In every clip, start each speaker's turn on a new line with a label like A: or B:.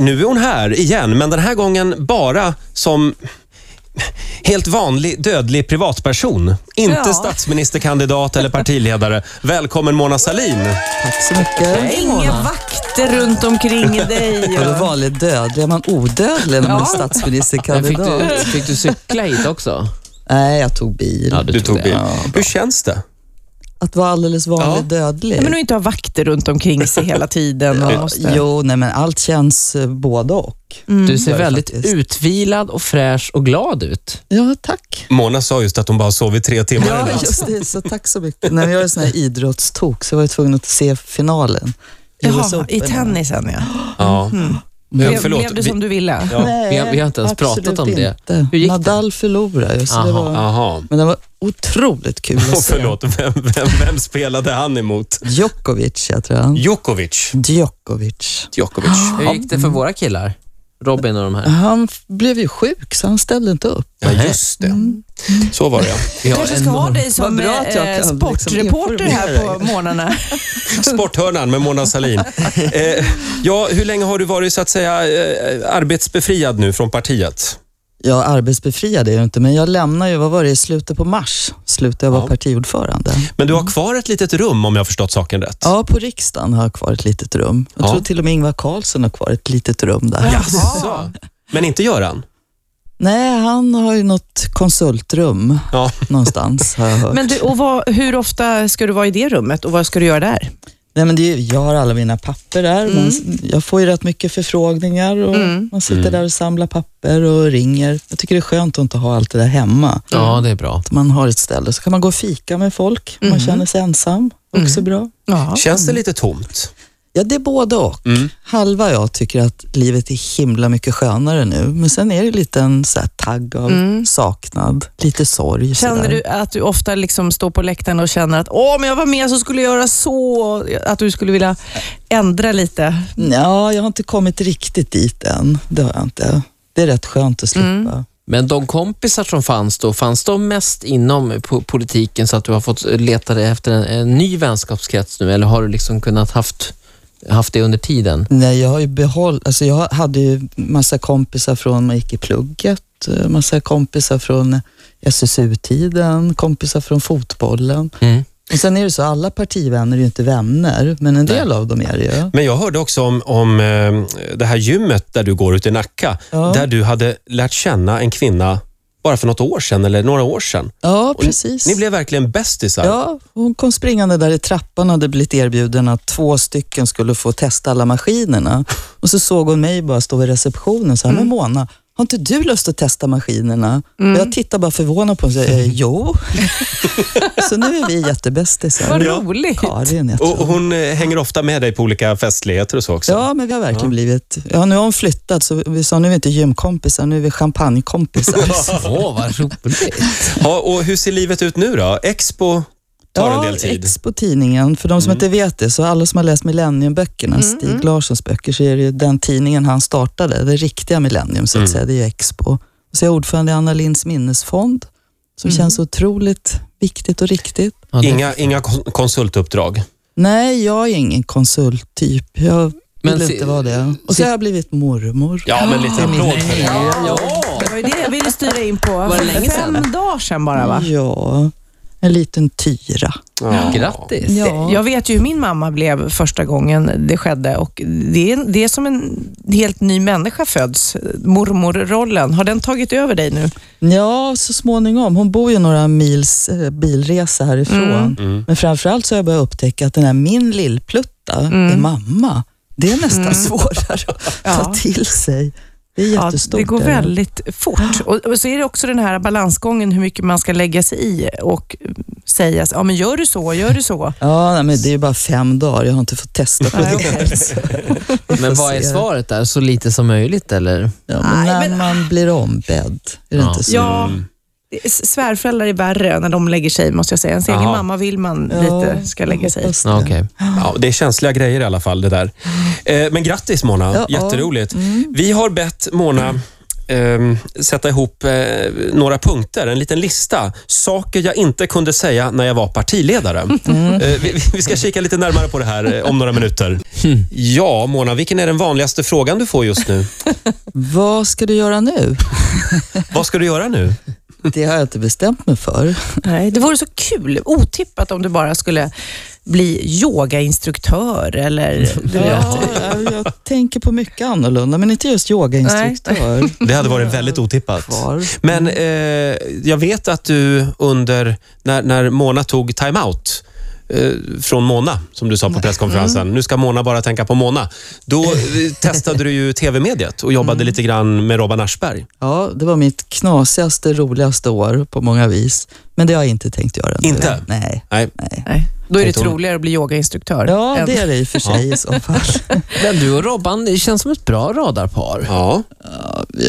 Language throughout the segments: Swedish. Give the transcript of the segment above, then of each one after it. A: Nu är hon här igen, men den här gången bara som helt vanlig dödlig privatperson. Inte
B: Ja.
A: statsministerkandidat eller partiledare. Välkommen Mona Sahlin.
C: Tack så mycket.
B: Inga
C: Mona.
B: vakter runt omkring dig.
C: Var det vanligt dödlig? Är man odödlig när man är
B: Ja.
D: Men fick,
C: statsministerkandidat?
D: du, fick du cykla hit också?
C: Nej, jag tog bil.
D: Ja, du-
A: Du tog
D: det.
A: bild.
D: Ja,
A: Hur känns det?
C: Att vara alldeles vanlig
A: Ja.
C: dödlig.
B: Ja, Men att inte ha vakter runt omkring sig hela tiden. Man måste...
C: Jo, nej men allt känns eh, både och.
D: Du ser
C: Det är
D: väldigt
C: Mm. faktiskt.
D: utvilad och fräsch och glad ut.
C: Ja, tack.
A: Mona sa just att hon bara sov i tre timmar i
C: Ja,
B: Mm.
A: natt.
C: just det. Så tack så mycket. Nej, men jag är en sån här idrottstok, så jag var ju tvungen att se finalen. US
B: Jaha,
C: Open.
B: i tennisen ja.
A: Ja. Men,
B: Blev,
A: förlåt.
B: blev det
A: vi-
B: som du ville?
A: Ja.
C: Nej,
D: Vi har- vi har inte ens pratat om
C: absolut
D: det.
C: Inte.
D: Hur gick det?
C: Nadal förlorade ju, så det
D: Aha,
C: var...
A: Jaha.
C: Men det var otroligt kul att
A: Och
C: se.
A: förlåt, vem, vem, vem spelade han emot?
C: Djokovic, jag tror han.
A: Djokovic.
C: Djokovic.
A: Djokovic.
D: Hur gick
C: Mm.
D: det för våra killar? Robin och de här.
C: Han f- blev ju sjuk, så han ställde inte upp.
A: Ja, just det.
B: Mm.
A: Så var det, ja.
D: Vi har
B: kanske ska ha
D: enorm-
B: dig som
C: Vad bra att jag
B: eh,
C: kan
B: sportreporter
C: liksom
B: här
C: informera
B: på morgnarna.
A: Sporthörnan med Mona Sahlin. Eh, ja, hur länge har du varit så att säga eh, arbetsbefriad nu från partiet?
C: Jag arbetsbefriad är jag ju inte, men jag lämnar ju, vad var det, i slutet på mars slutade jag vara
A: Ja.
C: partiordförande.
A: Men du har kvar ett litet rum om jag har förstått saken rätt.
C: Mm. Ja, på riksdagen har jag kvar ett litet rum. Jag
A: Ja.
C: tror till och med Ingvar Carlsson har kvar ett litet rum där.
A: Jaså. Men inte Göran?
C: Nej, han har ju något konsultrum
A: Ja.
C: någonstans har jag hört.
B: Men du, och vad, hur ofta ska du vara i det rummet och vad ska du göra där?
C: Nej, men det är, ju- jag har alla mina papper där. men jag får ju rätt mycket förfrågningar och man sitter där och samlar papper och ringer. Jag tycker det är skönt att inte ha allt det där hemma.
D: Ja, det är bra.
C: Att man har ett ställe så kan man gå och fika med folk om man känner sig ensam. Också bra.
B: Ja.
A: Känns det lite tomt?
C: Ja, det är både och. Halva jag tycker att livet är himla mycket skönare nu, men sen är det lite en så här tagg av saknad, lite sorg.
B: Känner
C: sådär.
B: du att du ofta liksom står på läktaren och känner att åh, om jag var med så skulle jag göra så, att du skulle vilja ändra lite?
C: Ja, jag har inte kommit riktigt dit än. Det har jag inte. Det är rätt skönt att slippa.
D: Men de kompisar som fanns då, fanns de mest inom po- politiken så att du har fått leta dig efter en, en ny vänskapskrets nu eller har du liksom kunnat haft, haft det under tiden?
C: Nej, jag har ju behåll... Alltså jag hade ju massa kompisar från man gick i plugget, eh, massa kompisar från SSU-tiden, kompisar från fotbollen.
D: Mm.
C: Och sen är det så, alla partivänner är ju inte vänner, men en del av dem är det ju.
A: Men jag hörde också om, om eh, det här gymmet där du går ute i Nacka,
C: Ja.
A: där du hade lärt känna en kvinna bara för något år sedan eller några år sedan.
C: Ja,
A: ni-
C: precis.
A: Ni blev verkligen bästisar.
C: Ja, hon kom springande där i trappan och hade blivit erbjuden att två stycken skulle få testa alla maskinerna. Och så såg hon mig bara stå vid receptionen och sa,
A: Mm.
C: men Mona, har inte du lust att testa maskinerna? Och
A: Mm.
C: jag tittar bara förvånad på henne och säger, eh, jo. så nu är vi jättebästisar.
B: Vad roligt.
C: Karin heter
A: Och och
C: hon.
A: hon eh, hänger ofta med dig på olika festligheter och så också.
C: Ja, men vi har verkligen blivit... Ja, nu har hon flyttat, så vi sa nu är vi inte gymkompisar, nu är vi champagnekompisar.
D: Åh, vad roligt.
A: Ja, och hur ser livet ut nu då? Expo tar en del tid.
C: Expo tidningen. För de som inte vet det, så alla som har läst Millenniumböckerna, Stig Larssons böcker, så är det ju den tidningen han startade, det riktiga Millennium så att säga, det är ju Expo. Och så är jag ordförande i Anna Linds minnesfond, som känns otroligt viktigt och riktigt.
D: Ja, det-
A: Inga, inga kon- konsultuppdrag.
C: Nej, jag är ingen konsulttyp. Jag
D: Men
C: vill
D: si-
C: inte vara det. Och så har jag blivit mormor.
A: Ja, men lite applåd för det.
B: Det var ju det jag ville styra in på.
D: Var det länge sedan?
B: Fem dagar sedan bara va?
C: Ja, en liten tyra.
A: Ja.
D: Grattis.
C: Ja.
B: Jag vet ju hur min mamma blev första gången det skedde och det är, det är som en helt ny människa föds. Mormorrollen, har den tagit över dig nu?
C: Ja, så småningom. Hon bor ju några mils eh, bilresa
B: Mm.
C: härifrån. Men framförallt så har jag börjat upptäcka att den här min lillplutta är mamma. Det är nästan svårare att
B: Mm. Ja.
C: ta till sig. Det är
B: Ja,
C: jättestort.
B: det går
C: är det.
B: väldigt fort. Och, och så är det också den här balansgången hur mycket man ska lägga sig i och säga, ja men gör du så, gör du så.
C: Ja, nej, men det är ju bara fem dagar. Jag har inte fått testa på
B: Nej,
C: det.
D: Mm.
B: okej.
D: Men vad är
C: se.
D: svaret där? Så lite som möjligt eller?
C: Ja, men
B: Nej,
C: när
B: men-
C: man blir ombedd, är det
D: Ja.
C: inte så?
B: Ja, det- svärföräldrar är värre när de lägger sig måste jag säga. Ens egen
A: Jaha.
B: mamma vill man
C: Ja,
B: lite ska lägga sig i.
C: hoppas det.
D: Ja, okej.
A: Ja, det är känsliga grejer i alla fall det där. Eh, Men grattis Mona,
C: Ja, Mm. ja.
A: jätteroligt. Vi har bett Mona ehm, sätta ihop eh, några punkter, en liten lista. Saker jag inte kunde säga när jag var partiledare.
C: Mm.
A: Eh, vi, vi ska kika lite närmare på det här eh, om några minuter. Ja, Mona, vilken är den vanligaste frågan du får just nu?
C: Vad ska du göra nu?
A: Vad ska du göra nu?
C: Det har jag inte bestämt mig för.
B: Nej, det vore så kul, otippat om du bara skulle bli yogainstruktör eller du vet.
C: Ja, jag, jag tänker på mycket annorlunda, men inte just yogainstruktör.
A: Det hade varit väldigt otippat.
C: Kvar.
A: Men eh, jag vet att du under, när, när Mona tog timeout eh, från Mona, som du sa på presskonferensen. Nu ska Mona bara tänka på Mona. Då eh, testade du ju tv-mediet och jobbade lite grann med Robban Aschberg.
C: Ja, det var mitt knasigaste, roligaste år på många vis. Men det har jag inte tänkt göra nu.
A: Inte?
C: Nej.
A: Nej.
C: Nej.
B: Nej. Då är det
A: Tänkte hon-
B: troligare att bli yogainstruktör.
C: Ja,
B: än-
C: det är det i och för sig i så fall.
D: Men du och Robban, det känns som ett bra radarpar.
A: Ja.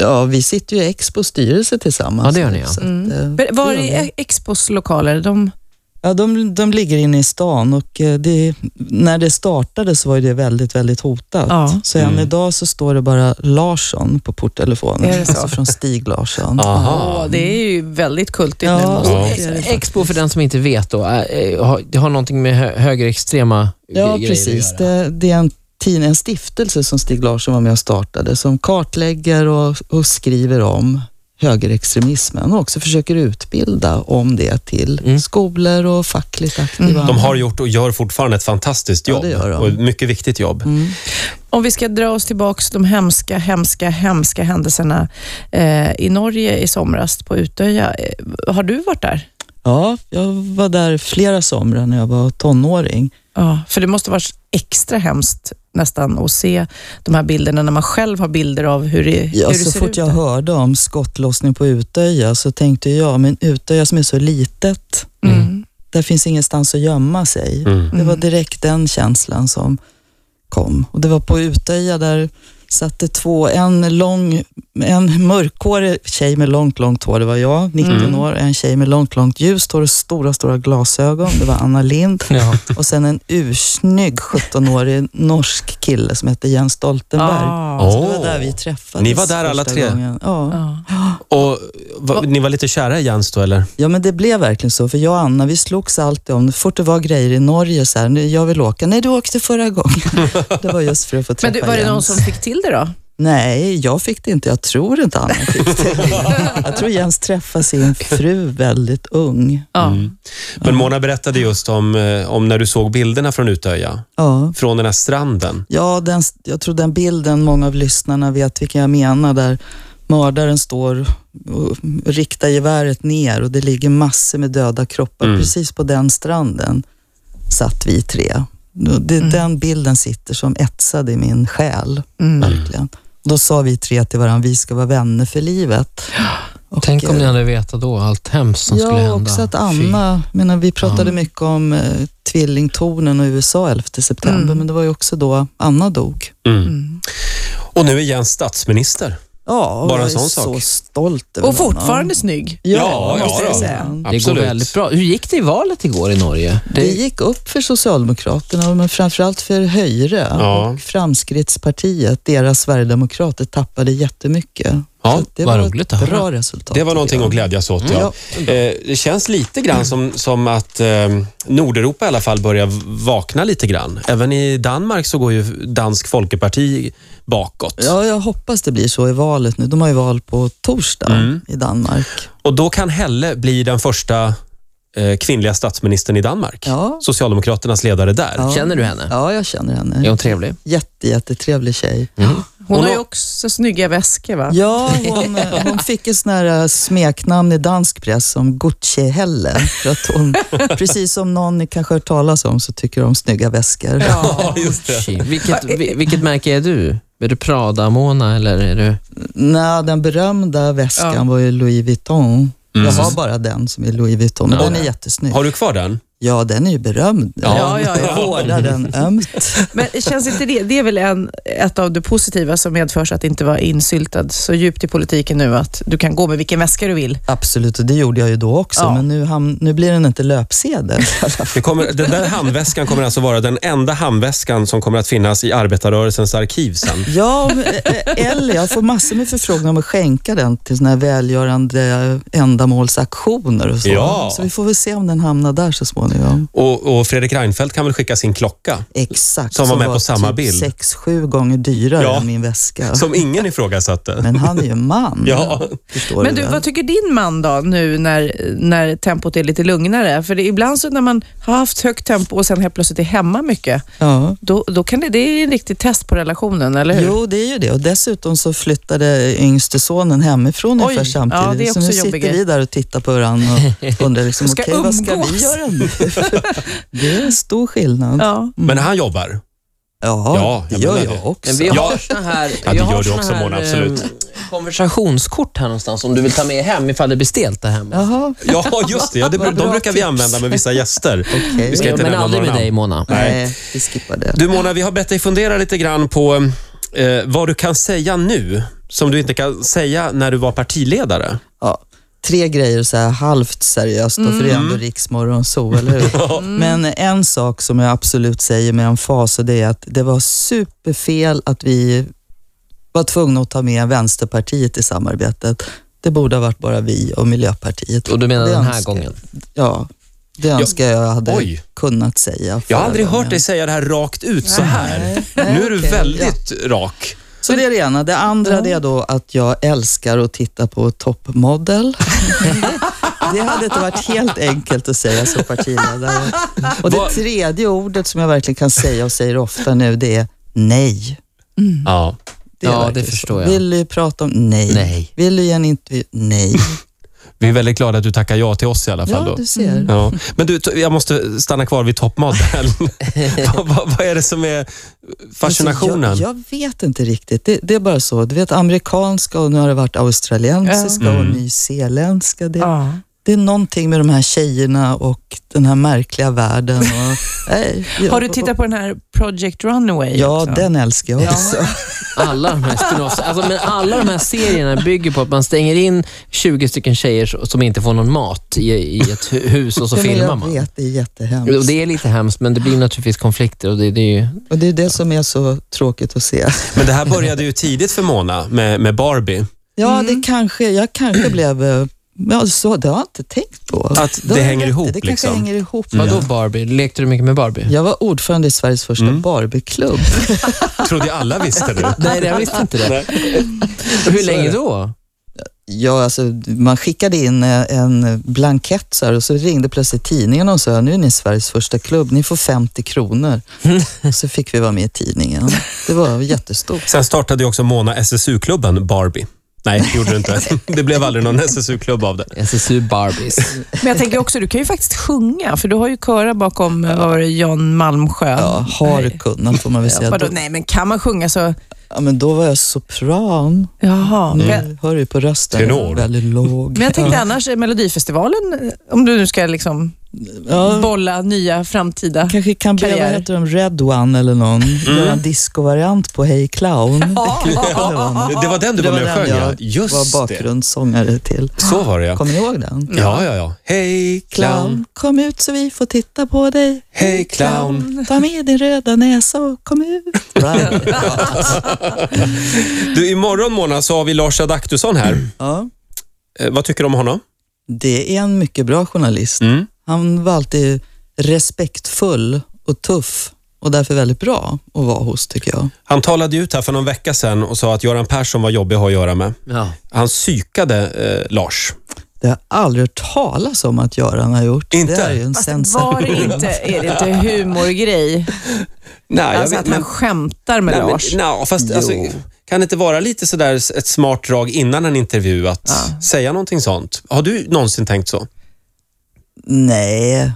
C: Ja, vi sitter ju i Expos styrelse tillsammans.
D: Ja, det gör ni, ja.
C: Så att, eh,
B: Men Mm. Var
C: det gör
B: är
C: vi.
B: Expos lokaler? De,
C: Ja, de, de ligger inne i stan och eh, det, när det startade så var ju det väldigt, väldigt hotat.
B: Ja.
C: Så än
A: Mm.
C: idag så står det bara Larsson på porttelefonen.
B: Är det så?
C: Alltså från Stig Larsson.
A: Aha.
B: Åh, det är ju väldigt kultigt nu.
C: Ja,
B: måste jag
A: Ja.
B: säga.
D: Ex- Eh, Expo, för den som inte vet, då, är- är- har- det har någonting med hö- högerextrema
C: Ja,
D: grejer
C: precis.
D: att göra.
C: Det, det är en, tid- en stiftelse som Stig Larsson var med och startade som kartlägger och, och skriver om högerextremismen och också försöker utbilda om det till
D: Mm.
C: skolor och fackligt aktiva.
A: De har gjort och gör fortfarande ett fantastiskt
C: Ja,
A: jobb.
C: det gör de.
A: Och ett mycket viktigt jobb.
C: Mm.
B: Om vi ska dra oss tillbaka till de hemska, hemska, hemska händelserna eh, i Norge i somras på Utöja. Eh, har du varit där?
C: Ja, jag var där flera somrar när jag var tonåring.
B: Ja, för det måste vara extra hemskt nästan att se de här bilderna när man själv har bilder av hur det,
C: Ja,
B: hur det
C: så
B: ser
C: fort
B: ut.
C: jag
B: där.
C: hörde om skottlossning på Utöja så tänkte jag, men Utöja som är så litet,
B: Mm.
C: där finns ingenstans att gömma sig.
A: Mm.
C: Det var direkt den känslan som kom. Och det var på Utöja där satt det två, en lång, en mörkhårig tjej med långt, långt hår, det var jag, 19
B: Mm.
C: år, en tjej med långt, långt ljust hår och stora, stora glasögon, det var Anna Lind
D: Ja.
C: och sen en ursnygg 17-årig norsk kille som hette Jens Stoltenberg.
B: Ja.
A: Ah. Åh.
C: Så det var där vi träffades
A: Ni var där alla
C: första
A: tre?
C: gången. Ja.
B: Ja.
A: Och, va, ni var lite kära i Jens då, eller?
C: ja, men det blev verkligen så. För jag och Anna, vi slogs alltid om, fort det var grejer i Norge, så här, "Nu, jag vill åka. Nej, du åkte förra gången. det var just för att få
B: Men
C: träffa
B: du, var det
C: Jens.
B: någon som fick till det då?
C: Nej, jag fick det inte. Jag tror inte Anna fick det. jag tror Jens träffade sin fru väldigt ung.
B: Ja.
C: Mm.
A: Men Mona berättade just om, eh, om när du såg bilderna från Utöja,
C: Ja.
A: från den här stranden.
C: Ja, den, jag tror den bilden, många av lyssnarna vet vilken jag menar, där mördaren står och riktar geväret ner och det ligger massor med döda kroppar.
A: Mm.
C: Precis på den stranden satt vi tre. Det,
B: Mm.
C: Den bilden sitter som etsad i min själ,
B: Mm.
C: verkligen. Då sa vi tre till varandra, vi ska vara vänner för livet. Och,
D: Tänk om ni
C: eh,
D: hade vetat då allt hemskt som skulle
C: Ja,
D: hända.
C: också att
D: Fy.
C: Anna, menar, vi pratade
D: Ja.
C: mycket om eh, tvillingtornen och USA 11 september,
B: Mm.
C: men det var ju också då Anna dog.
A: Mm.
B: Mm.
A: Och nu är Jens statsminister.
C: Ja, och
A: Bara en
C: jag är
A: sån sak.
C: så stolt över
B: Och
C: honom.
B: fortfarande snygg.
C: Ja,
A: Ja,
C: måste
A: ja
C: jag
A: då.
C: säga.
D: Det går väldigt bra. Hur gick det i valet igår i Norge?
C: Det gick upp för Socialdemokraterna, men framförallt för Höyre
A: Ja.
C: och Framskrittspartiet. Deras sverigedemokrater tappade jättemycket.
A: Ja,
C: Så att det
D: vad
C: var
D: roligt att
C: ett
D: höra.
C: bra resultat.
A: Det var
C: tycker
A: någonting
C: jag.
A: att glädjas åt, ja.
C: Mm. Ja.
A: Eh, Det känns lite grann som, som att eh, Nordeuropa i alla fall börjar vakna lite grann. Även i Danmark så går ju Dansk Folkeparti bakåt.
C: Ja, jag hoppas det blir så i valet nu. De har ju val på torsdag
A: Mm.
C: i Danmark.
A: Och då kan Helle bli den första eh, kvinnliga statsministern i Danmark.
C: Ja.
A: Socialdemokraternas ledare där.
C: Ja.
D: Känner du henne?
C: Ja, jag känner henne.
D: Är hon trevlig?
C: Jätte, jättetrevlig tjej.
B: Hon
A: Hon
B: har ju
A: har-
B: också snygga väskor va?
C: Ja, hon, eh, hon fick ett sån här äh, smeknamn i dansk press som Gucci-Helle. För att hon, precis som någon ni kanske hört talas om så tycker de om snygga väskor.
A: Ja, just det.
D: Shit. Vilket, vi- vilket märke är du? Är du Prada-Mona eller är du...
C: Nej, den berömda väskan
B: Ja.
C: var ju Louis Vuitton.
A: Mm.
C: Jag har bara den som är Louis Vuitton, men
A: Ja.
C: den är jättesnygg.
A: Har du kvar den?
C: Ja, den är ju berömd.
A: Ja,
B: ja, ja.
C: Jag vårdar den ömt.
B: Men känns inte det, det är väl en, ett av det positiva som medförs att inte vara insyltad så djupt i politiken nu att du kan gå med vilken väska du vill.
C: Absolut, och det gjorde jag ju då också,
B: Ja.
C: men nu, ham- nu blir den inte löpsedel.
A: Det kommer, den där handväskan kommer alltså vara den enda handväskan som kommer att finnas i arbetarrörelsens arkiv sen.
C: Ja, men, eh, eller jag får massor med förfrågningar om att skänka den till såna här välgörande ändamålsaktioner och så.
A: Ja.
C: Så vi får väl se om den hamnar där så småningom.
A: Och, och Fredrik Reinfeldt kan väl skicka sin klocka,
C: Exakt.
A: Som var med på samma
C: typ
A: bild.
C: sex, sju gånger dyrare
A: Ja.
C: än min väska.
A: som ingen ifrågasatte.
C: Men han är ju man.
A: Ja.
C: Förstår
B: Men du,
C: du, väl?
B: vad tycker din man då nu när, när tempot är lite lugnare? För det, är ibland så när man har haft högt tempo och sen helt plötsligt är hemma mycket,
C: ja.
B: då, då kan det, det är en riktig test på relationen, eller hur?
C: Jo, det är ju det. Och dessutom så flyttade yngste sonen hemifrån
B: Oj,
C: ungefär samtidigt.
B: ja, det är också
C: så nu
B: jobbig
C: sitter
B: grej.
C: vi där och tittar på varandra och undrar liksom,
B: Ska
C: okej, vad ska vi
B: umgås.
C: göra nu? det är en stor skillnad. Ja,
B: Ja.
A: Men han jobbar. Ja,
C: det
A: jag
C: gör
A: menar
C: jag
A: det.
C: också.
D: Men vi har
A: Ja.
D: såna här,
A: Ja, det
D: jag har
A: gör du
D: såna
A: också,
D: här,
A: Mona, absolut.
D: eh, konversationskort här någonstans om du vill ta med hem ifall det blir stelt där hemma.
C: Jaha,
A: Ja, just det. Ja, det de brukar vi använda med vissa gäster.
C: okej.
A: Vi ska inte
D: men
A: nämna
D: aldrig
A: några
D: med dig
A: namn.
D: Mona.
A: Nej.
C: Nej, vi skippar det.
A: Du Mona, vi har bett dig fundera lite grann på eh, vad du kan säga nu som du inte kan säga när du var partiledare.
C: Ja, tre grejer så här halvt seriöst, då, för det är
A: Mm.
C: ändå riksmorgon så, eller hur? Men en sak som jag absolut säger med en fas och det är att det var superfel att vi var tvungna att ta med Vänsterpartiet i samarbetet. Det borde ha varit bara vi och Miljöpartiet.
D: Och du menar
C: Det
D: den här
C: önskar-
D: gången?
C: Ja, det önskar jag hade
A: Oj.
C: kunnat säga.
A: Jag har
C: förra
A: aldrig hört
C: gången.
A: dig säga det här rakt ut så här.
C: nej,
A: Nu är du
C: okej.
A: väldigt rak.
C: Så det är det ena. Det andra det är då att jag älskar att titta på Top Model. Det hade inte varit helt enkelt att säga som partiledare. Och det
A: Vad-
C: tredje ordet som jag verkligen kan säga och säger ofta nu, det är nej.
A: Ja.
C: är
D: Ja, det
C: verkligen så.
D: förstår jag.
C: Vill du prata om nej?
D: Nej.
C: Vill du ge en intervju? Nej.
A: Vi är väldigt glada att du tackar ja till oss i alla fall.
C: Ja,
A: då.
C: du
D: Mm.
C: ser.
A: Ja. Men du, t- jag måste stanna kvar vid toppmodell. vad, vad, vad är det som är fascinationen?
C: Alltså, jag, jag vet inte riktigt. Det, det är bara så. Du vet amerikanska och nu har det varit australiensiska
D: Mm.
C: och nyzeeländska. Det,
B: Ja.
C: Det är någonting med de här tjejerna och den här märkliga världen. Och, nej, jag-
B: Har du tittat på den här Project Runway?
C: Ja,
B: också?
C: den älskar jag också.
D: Alla de här spin-offs, alltså, men alla de här serierna bygger på att man stänger in 20 stycken tjejer s- som inte får någon mat i, i ett hu- hus och så
C: Ja, men
D: filmar
C: jag
D: man.
C: vet, det är jättehemskt.
D: Och det är lite hemskt, men det blir naturligtvis konflikter. Och det, det är ju...
C: Och det är det som är så tråkigt att se.
A: Men det här började ju tidigt för Mona med, med Barbie.
C: Ja, det kanske, jag kanske blev... eh, Ja, så, det har jag inte tänkt på.
A: Att
C: Du har
A: det
C: rätt
A: hänger
C: i,
A: ihop,
C: Det kanske
A: liksom.
C: hänger ihop.
D: Vadå
C: Ja.
D: Barbie? Lekte du mycket med Barbie?
C: Jag var ordförande i Sveriges första
A: Mm.
C: Barbieklubb.
A: Trodde jag alla visste det.
D: Nej, jag visste inte det. Hur
A: Så är
D: länge
A: det.
D: då?
C: Ja, alltså, man skickade in eh, en blankett så här, och så ringde plötsligt tidningen och sa nu är ni Sveriges första klubb, ni får 50 kronor. Och så fick vi vara med i tidningen. Det var jättestort.
A: Sen startade ju också Mona SSU-klubben Barbie. Nej, det gjorde du inte. Det blev aldrig någon SSU-klubb av det.
D: SSU Barbies.
B: Men jag tänker också, du kan ju faktiskt sjunga, för du har ju köra bakom vad var det, John Malmsjö.
C: Ja, har kunnat får man väl säga.
B: Vadå,
C: Då,
B: nej, men kan man sjunga så...
C: ja, men då var jag sopran.
B: Jaha. Men,
C: Nu hör du på rösten.
A: Tenor.
C: Väldigt låg.
B: Mm. men jag tänkte annars, eh, Melodifestivalen, eh, om du nu ska liksom
C: Ja,
B: bolla nya framtida...
C: kanske kan bli, vad
B: Karriär.
C: heter de, Red One eller någon.
A: Mm.
C: Göra en discovariant på Hey Clown.
A: Det- Det var den du
C: Det
A: var
C: var
A: med och
C: den
A: sjöng, ja.
C: jag
A: Just
C: var
A: det.
C: bakgrundssångare till.
A: Så var det, ja.
C: Kommer ni ihåg den?
A: Ja, ja, ja. Hej, clown.
C: Clown, kom ut så vi får titta på dig.
A: Hej, clown.
C: Ta med din röda näsa och kom ut.
A: Du, imorgon Mona så har vi Lars Adaktusson här.
C: ja,
A: Eh, vad tycker du om honom?
C: det är en mycket bra journalist.
A: Mm.
C: Han var alltid respektfull och tuff och därför väldigt bra att vara hos tycker jag.
A: Han talade ju ut här för någon vecka sedan och sa att Göran Persson var jobbig att ha att göra med.
D: Ja.
A: Han psykade eh, Lars.
C: Det har jag aldrig hört talas om att Göran har gjort.
A: Inte?
C: Det är ju en sensation.
B: Var det inte, är det inte humorgrej?
A: Nej, jag
B: Alltså
A: vet,
B: att han
A: men-
B: skämtar med
A: nej, men-
B: Lars.
A: nej, fast alltså,
C: Jo.
A: kan det inte vara lite sådär s- ett smart drag innan en intervju att säga någonting sånt? Har du någonsin tänkt så?
C: Nej.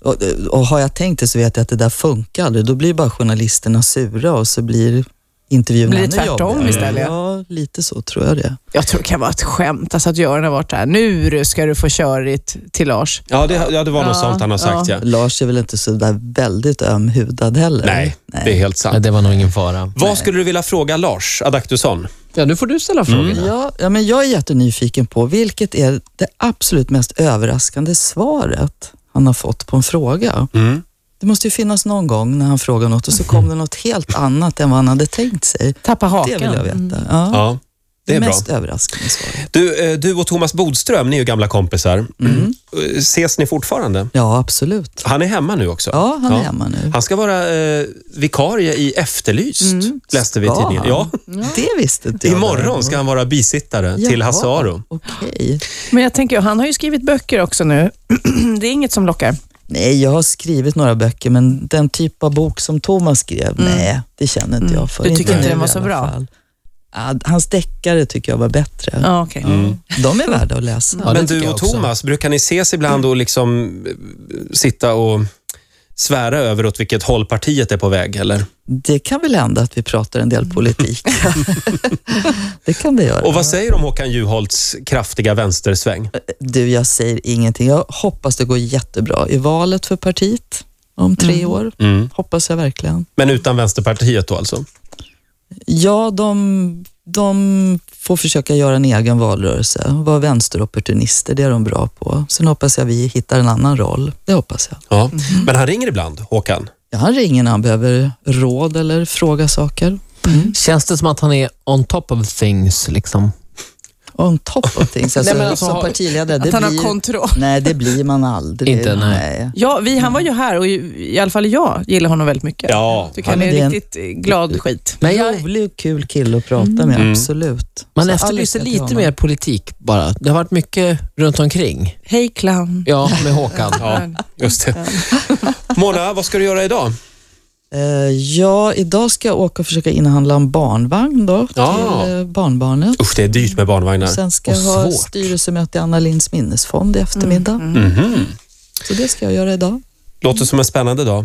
C: Och, och har jag tänkt det så vet jag att det där funkar aldrig. Då blir bara journalisterna sura och så blir intervjun
B: Blir det
C: ännu
B: tvärtom
C: jobbigare.
B: istället?
C: Ja, lite så tror jag det.
B: Jag tror det kan vara ett skämt, alltså att Göran har varit där. Nu du, ska du få körigt till Lars.
A: Ja, det, ja, det var något
B: Ja,
A: sånt han har sagt. Ja.
C: Lars är väl inte så där väldigt ömhudad heller?
A: Nej, det är helt
D: Nej,
A: sant.
D: det var nog ingen fara.
A: Vad skulle du vilja fråga Lars Adaktusson?
D: Ja, nu får du ställa frågorna.
C: Ja, ja, men jag är jättenyfiken på vilket är det absolut mest överraskande svaret han har fått på en fråga.
A: Mm.
C: Det måste ju finnas någon gång när han frågar något och så kom det något helt annat än vad han hade tänkt sig.
B: Tappa
C: Det
B: hakan. Mm.
C: vill jag veta. Ja,
A: Ja, det är bra.
C: mest överraskande svaret.
A: Du, eh, du och Thomas Bodström, ni är ju gamla kompisar. Eh, Ses ni fortfarande?
C: Ja, absolut.
A: Han är hemma nu också.
C: Ja, han är hemma nu.
A: Han ska vara eh, vikarie i Efterlyst, läste vi i
C: Ska
A: tidningen.
C: han?
A: Ja.
C: Det visste inte jag.
A: Imorgon ska han vara bisittare till
C: Jaha,
A: Hasse Aro.
C: Okej.
B: Men jag tänker, han har ju skrivit böcker också nu. det är inget som lockar.
C: Nej, jag har skrivit några böcker, men den typ av bok som Thomas skrev, nej, det känner inte jag för.
B: Mm. Du tycker inte den
C: nu
B: var
C: i
B: så
C: alla
B: bra?
C: fall. Ja, hans deckare tycker jag var bättre. Mm.
B: Ja, okej.
C: De är värda att läsa.
D: Ja, det
A: Men
D: tycker
A: du
D: jag
A: och
D: också.
A: Thomas, brukar ni ses ibland och liksom eh, sitta och svära över åt vilket håll partiet är på väg? Eller?
C: Det kan väl hända att vi pratar en del politik. det kan det göra.
A: Och vad säger du om Håkan Juholts kraftiga vänstersväng?
C: Du, jag säger ingenting. Jag hoppas det går jättebra i valet för partiet om tre år.
A: Mm.
C: Hoppas jag verkligen.
A: Men utan Vänsterpartiet då alltså?
C: Ja, de, de får försöka göra en egen valrörelse. Vara vänsteropportunister, det är de bra på. Sen hoppas jag vi hittar en annan roll. Det hoppas jag.
A: Ja.
D: Mm.
A: Men han ringer ibland, Håkan.
C: Ja, han ringer när han behöver råd eller fråga saker.
D: Känns det som att han är on top of things? Liksom?
C: On top of things. Alltså,
D: Nej, men alltså,
C: som partiledare, det
B: Att han har
C: blir,
B: kontroll.
C: Nej, det blir man aldrig.
D: Inte, nej.
B: Ja, vi, han var ju här och i i alla fall jag gillar honom väldigt mycket.
A: Ja,
B: Tycker han
C: men
B: är
C: det är en-
B: riktigt eh, glad skit.
D: Men jag,
C: Rolig och kul kille att prata med, absolut.
D: man
C: Så
D: efterlyser
C: all lycka till
D: lite
C: honom.
D: mer politik bara. Det har varit mycket runt omkring.
B: Hej clown.
D: Ja, med Håkan.
A: Ja, just det. Mona, vad ska du göra idag?
C: Eh, ja, idag ska jag åka och försöka inhandla en barnvagn då,
A: Ja.
C: till eh, barnbarnet.
A: Usch, det är dyrt med barnvagnar.
C: Sen ska
A: Och
C: jag ha
A: svårt.
C: styrelsemöte i Anna Linds minnesfond i eftermiddag.
A: Mhm.
C: Så det ska jag göra idag.
A: Låter som en spännande dag.